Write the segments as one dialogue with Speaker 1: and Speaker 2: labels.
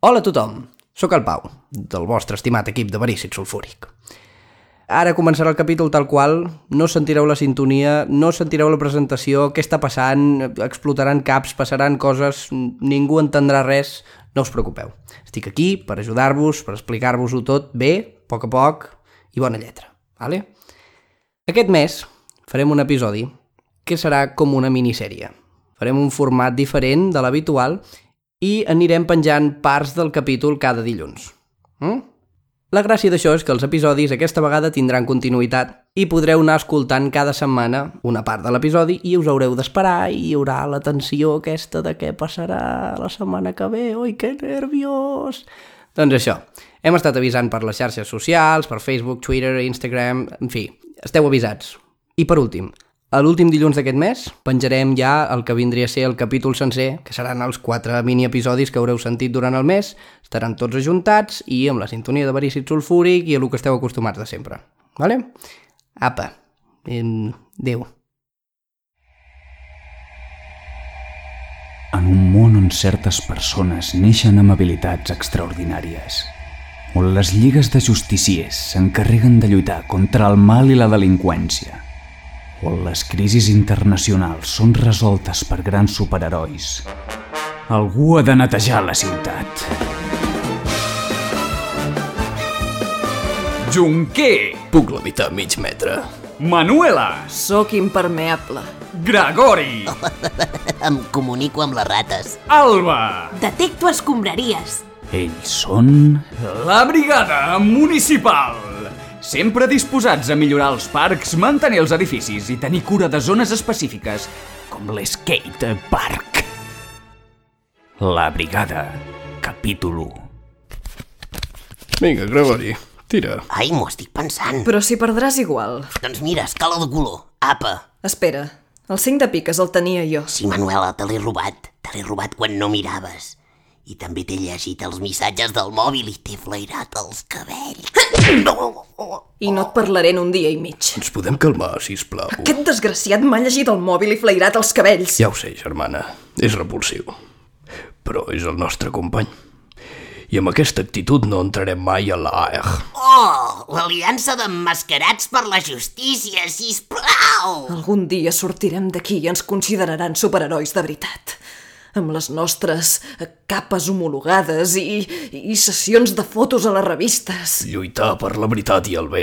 Speaker 1: Hola a tothom, sóc el Pau, del vostre estimat equip de verícit sulfúric. Ara començarà el capítol tal qual, no sentireu la sintonia, no sentireu la presentació, què està passant, explotaran caps, passaran coses, ningú entendrà res, no us preocupeu. Estic aquí per ajudar-vos, per explicar-vos-ho tot bé, a poc a poc i bona lletra, vale? Aquest mes farem un episodi que serà com una minissèrie. Farem un format diferent de l'habitual i anirem penjant parts del capítol cada dilluns. Mm? La gràcia d'això és que els episodis aquesta vegada tindran continuïtat i podreu anar escoltant cada setmana una part de l'episodi i us haureu d'esperar i hi haurà la tensió aquesta de què passarà la setmana que ve, oi que nerviós! Doncs això, hem estat avisant per les xarxes socials, per Facebook, Twitter, Instagram, en fi, esteu avisats. I per últim, a l'últim dilluns d'aquest mes penjarem ja el que vindria a ser el capítol sencer, que seran els quatre mini-episodis que haureu sentit durant el mes, estaran tots ajuntats i amb la sintonia de verícid sulfúric i a lo que esteu acostumats de sempre. Vale? Apa, em, adeu.
Speaker 2: En un món on certes persones neixen amb habilitats extraordinàries, on les lligues de justiciers s'encarreguen de lluitar contra el mal i la delinqüència, on les crisis internacionals són resoltes per grans superherois, algú ha de netejar la ciutat. Junquer,
Speaker 1: Puc levitar mig metre.
Speaker 2: Manuela,
Speaker 3: Sóc impermeable.
Speaker 2: Gregori,
Speaker 4: Em comunico amb les rates.
Speaker 2: Alba.
Speaker 5: Detecto escombraries.
Speaker 2: Ells són... La Brigada Municipal! Sempre disposats a millorar els parcs, mantenir els edificis i tenir cura de zones específiques, com l'Skate Park. La Brigada, capítol 1.
Speaker 1: Vinga, Gregori, tira.
Speaker 4: Ai, m'ho estic pensant.
Speaker 3: Però si perdràs igual.
Speaker 4: Doncs mira, escala de color. Apa.
Speaker 3: Espera, el 5 de piques el tenia jo.
Speaker 4: Sí, Manuela, te l'he robat. Te l'he robat quan no miraves. I també t'he llegit els missatges del mòbil i t'he flairat els cabells. No!
Speaker 3: I no et parlaré en un dia i mig.
Speaker 1: Ens podem calmar, si plau.
Speaker 3: Aquest desgraciat m'ha llegit el mòbil i flairat els cabells.
Speaker 1: Ja ho sé, germana, és repulsiu. Però és el nostre company. I amb aquesta actitud no entrarem mai a l'AEG.
Speaker 4: Oh, l'aliança d'emmascarats per la justícia, sisplau!
Speaker 3: Algun dia sortirem d'aquí i ens consideraran superherois de veritat. Amb les nostres eh, capes homologades i, i sessions de fotos a les revistes.
Speaker 1: Lluitar per la veritat i el bé.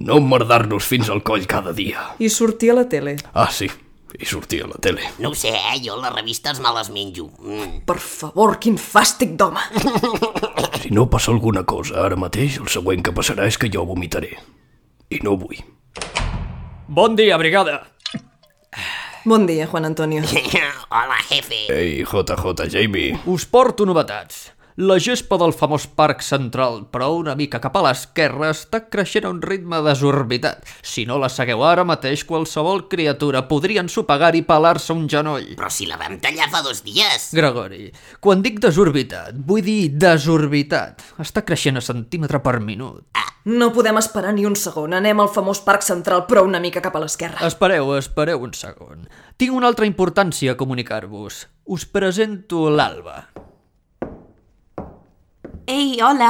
Speaker 1: No emmerdar-nos fins al coll cada dia.
Speaker 3: I sortir a la tele.
Speaker 1: Ah, sí, i sortir a la tele.
Speaker 4: No ho sé, eh? Jo les revistes me les menjo. Mm.
Speaker 3: Per favor, quin fàstic d'home!
Speaker 1: Si no passa alguna cosa ara mateix, el següent que passarà és que jo vomitaré. I no vull.
Speaker 6: Bon dia, brigada.
Speaker 3: Bon dia, Juan Antonio.
Speaker 4: Hola, jefe.
Speaker 1: Ei, JJ Jamie.
Speaker 6: Us porto novetats. La gespa del famós parc central, però una mica cap a l'esquerra, està creixent a un ritme desorbitat. Si no la segueu ara mateix, qualsevol criatura podria ensopegar i pelar-se un genoll.
Speaker 4: Però si la vam tallar fa dos dies.
Speaker 6: Gregori, quan dic desorbitat, vull dir desorbitat. Està creixent a centímetre per minut.
Speaker 3: No podem esperar ni un segon. Anem al famós parc central, però una mica cap a l'esquerra.
Speaker 6: Espereu, espereu un segon. Tinc una altra importància a comunicar-vos. Us presento l'Alba.
Speaker 5: Ei, hola.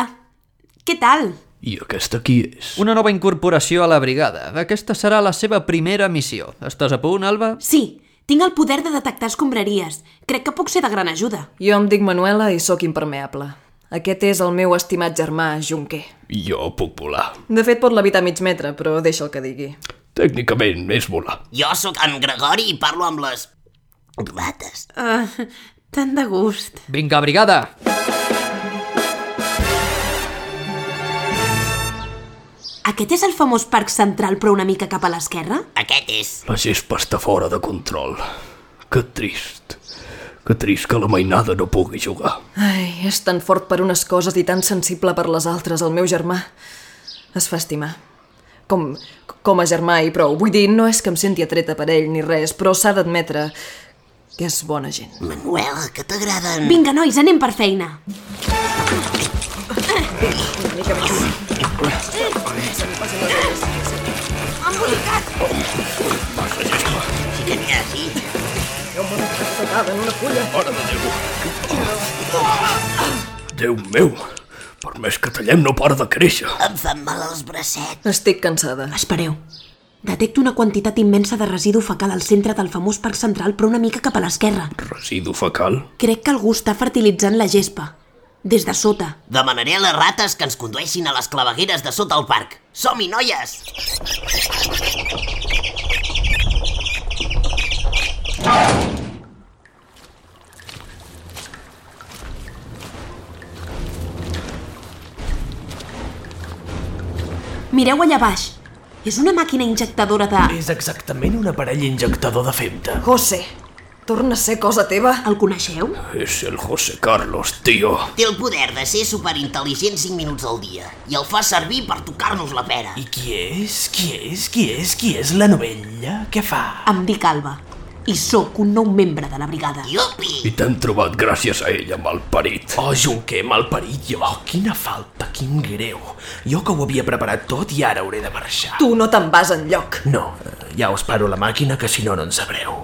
Speaker 5: Què tal?
Speaker 1: I aquesta qui és?
Speaker 6: Una nova incorporació a la brigada. Aquesta serà la seva primera missió. Estàs a punt, Alba?
Speaker 5: Sí, tinc el poder de detectar escombraries. Crec que puc ser de gran ajuda.
Speaker 3: Jo em dic Manuela i sóc impermeable. Aquest és el meu estimat germà, Junquer.
Speaker 1: Jo puc volar.
Speaker 3: De fet, pot levitar mig metre, però deixa el que digui.
Speaker 1: Tècnicament és volar.
Speaker 4: Jo sóc en Gregori i parlo amb les... rates.
Speaker 5: Uh, tant de gust.
Speaker 6: Vinga, brigada!
Speaker 5: Aquest és el famós parc central, però una mica cap a l'esquerra?
Speaker 4: Aquest és...
Speaker 1: La gespa està fora de control. Que trist. Que trist que la mainada no pugui jugar.
Speaker 3: Ai, és tan fort per unes coses i tan sensible per les altres, el meu germà. Es fa estimar. Com, com a germà i prou. Vull dir, no és que em senti atreta per ell ni res, però s'ha d'admetre que és bona gent.
Speaker 4: Manuela, que t'agraden...
Speaker 5: Vinga, nois, anem per feina.
Speaker 7: Déu meu, per més que tallem no para de créixer.
Speaker 4: Em fan mal els bracets.
Speaker 3: Estic cansada.
Speaker 5: Espereu. Detecto una quantitat immensa de residu fecal al centre del famós parc central, però una mica cap a l'esquerra.
Speaker 7: Residu fecal?
Speaker 5: Crec que algú està fertilitzant la gespa. Des de sota.
Speaker 4: Demanaré a les rates que ens condueixin a les clavegueres de sota el parc. Som-hi, noies!
Speaker 5: Mireu allà baix. És una màquina injectadora de...
Speaker 7: És exactament un aparell injectador de femta.
Speaker 3: José, torna a ser cosa teva?
Speaker 5: El coneixeu?
Speaker 7: És el José Carlos, tio.
Speaker 4: Té el poder de ser superintel·ligent 5 minuts al dia i el fa servir per tocar-nos la pera.
Speaker 8: I qui és? Qui és? Qui és? Qui és la novella? Què fa?
Speaker 5: Em dic Alba. I sóc un nou membre de la brigada.
Speaker 7: I
Speaker 4: Iupi!
Speaker 7: t'hem trobat gràcies a ella, malparit.
Speaker 8: Oh, Junquer, malparit jo. Oh, Quina falta, quin greu. Jo que ho havia preparat tot i ara hauré de marxar.
Speaker 3: Tu no te'n vas enlloc.
Speaker 8: No, eh, ja us paro la màquina, que si no, no en sabreu.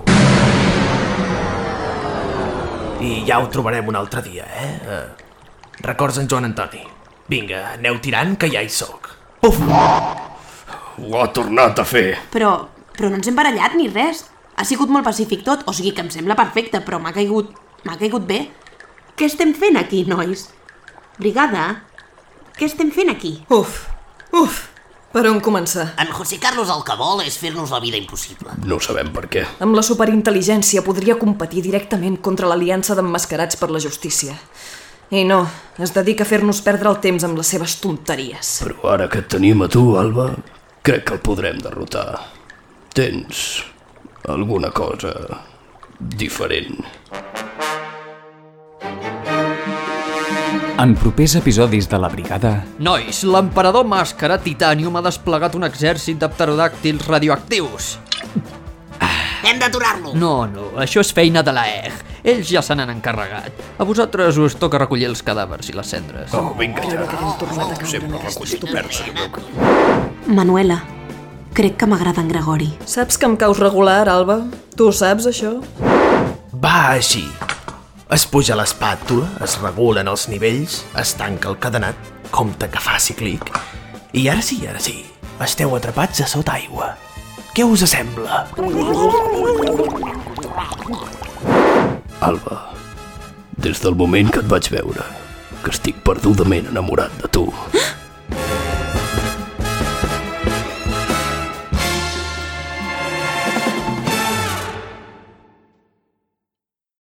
Speaker 8: I ja ho trobarem un altre dia, eh? Eh, Records en Joan Antoni. Vinga, aneu tirant, que ja hi sóc. Puf!
Speaker 7: Ho ha tornat a fer.
Speaker 5: Però, però no ens hem barallat ni res. Ha sigut molt pacífic tot, o sigui que em sembla perfecte, però m'ha caigut... m'ha caigut bé. Què estem fent aquí, nois? Brigada, què estem fent aquí?
Speaker 3: Uf, uf, per on començar?
Speaker 4: En José Carlos el que vol és fer-nos la vida impossible.
Speaker 7: No sabem per què.
Speaker 3: Amb la superintel·ligència podria competir directament contra l'aliança d'emmascarats per la justícia. I no, es dedica a fer-nos perdre el temps amb les seves tonteries.
Speaker 7: Però ara que et tenim a tu, Alba, crec que el podrem derrotar. Tens alguna cosa diferent.
Speaker 2: En propers episodis de La Brigada,
Speaker 6: Nois, l'emperador màscara Titanium ha desplegat un exèrcit de pterodàctils radioactius.
Speaker 4: Hem d'aturar-lo!
Speaker 6: No, no, això és feina de la EG. Ells ja se n'han encarregat. A vosaltres us toca recollir els cadàvers i les cendres.
Speaker 7: Oh, vinga ja. Sempre recollit perds.
Speaker 5: Manuela, crec que m'agrada en Gregori.
Speaker 3: Saps que em caus regular, Alba? Tu ho saps, això?
Speaker 8: Va així. Es puja l'espàtula, es regulen els nivells, es tanca el cadenat, compte que faci clic. I ara sí, ara sí. Esteu atrapats a sota aigua. Què us sembla?
Speaker 7: Alba, des del moment que et vaig veure, que estic perdudament enamorat de tu.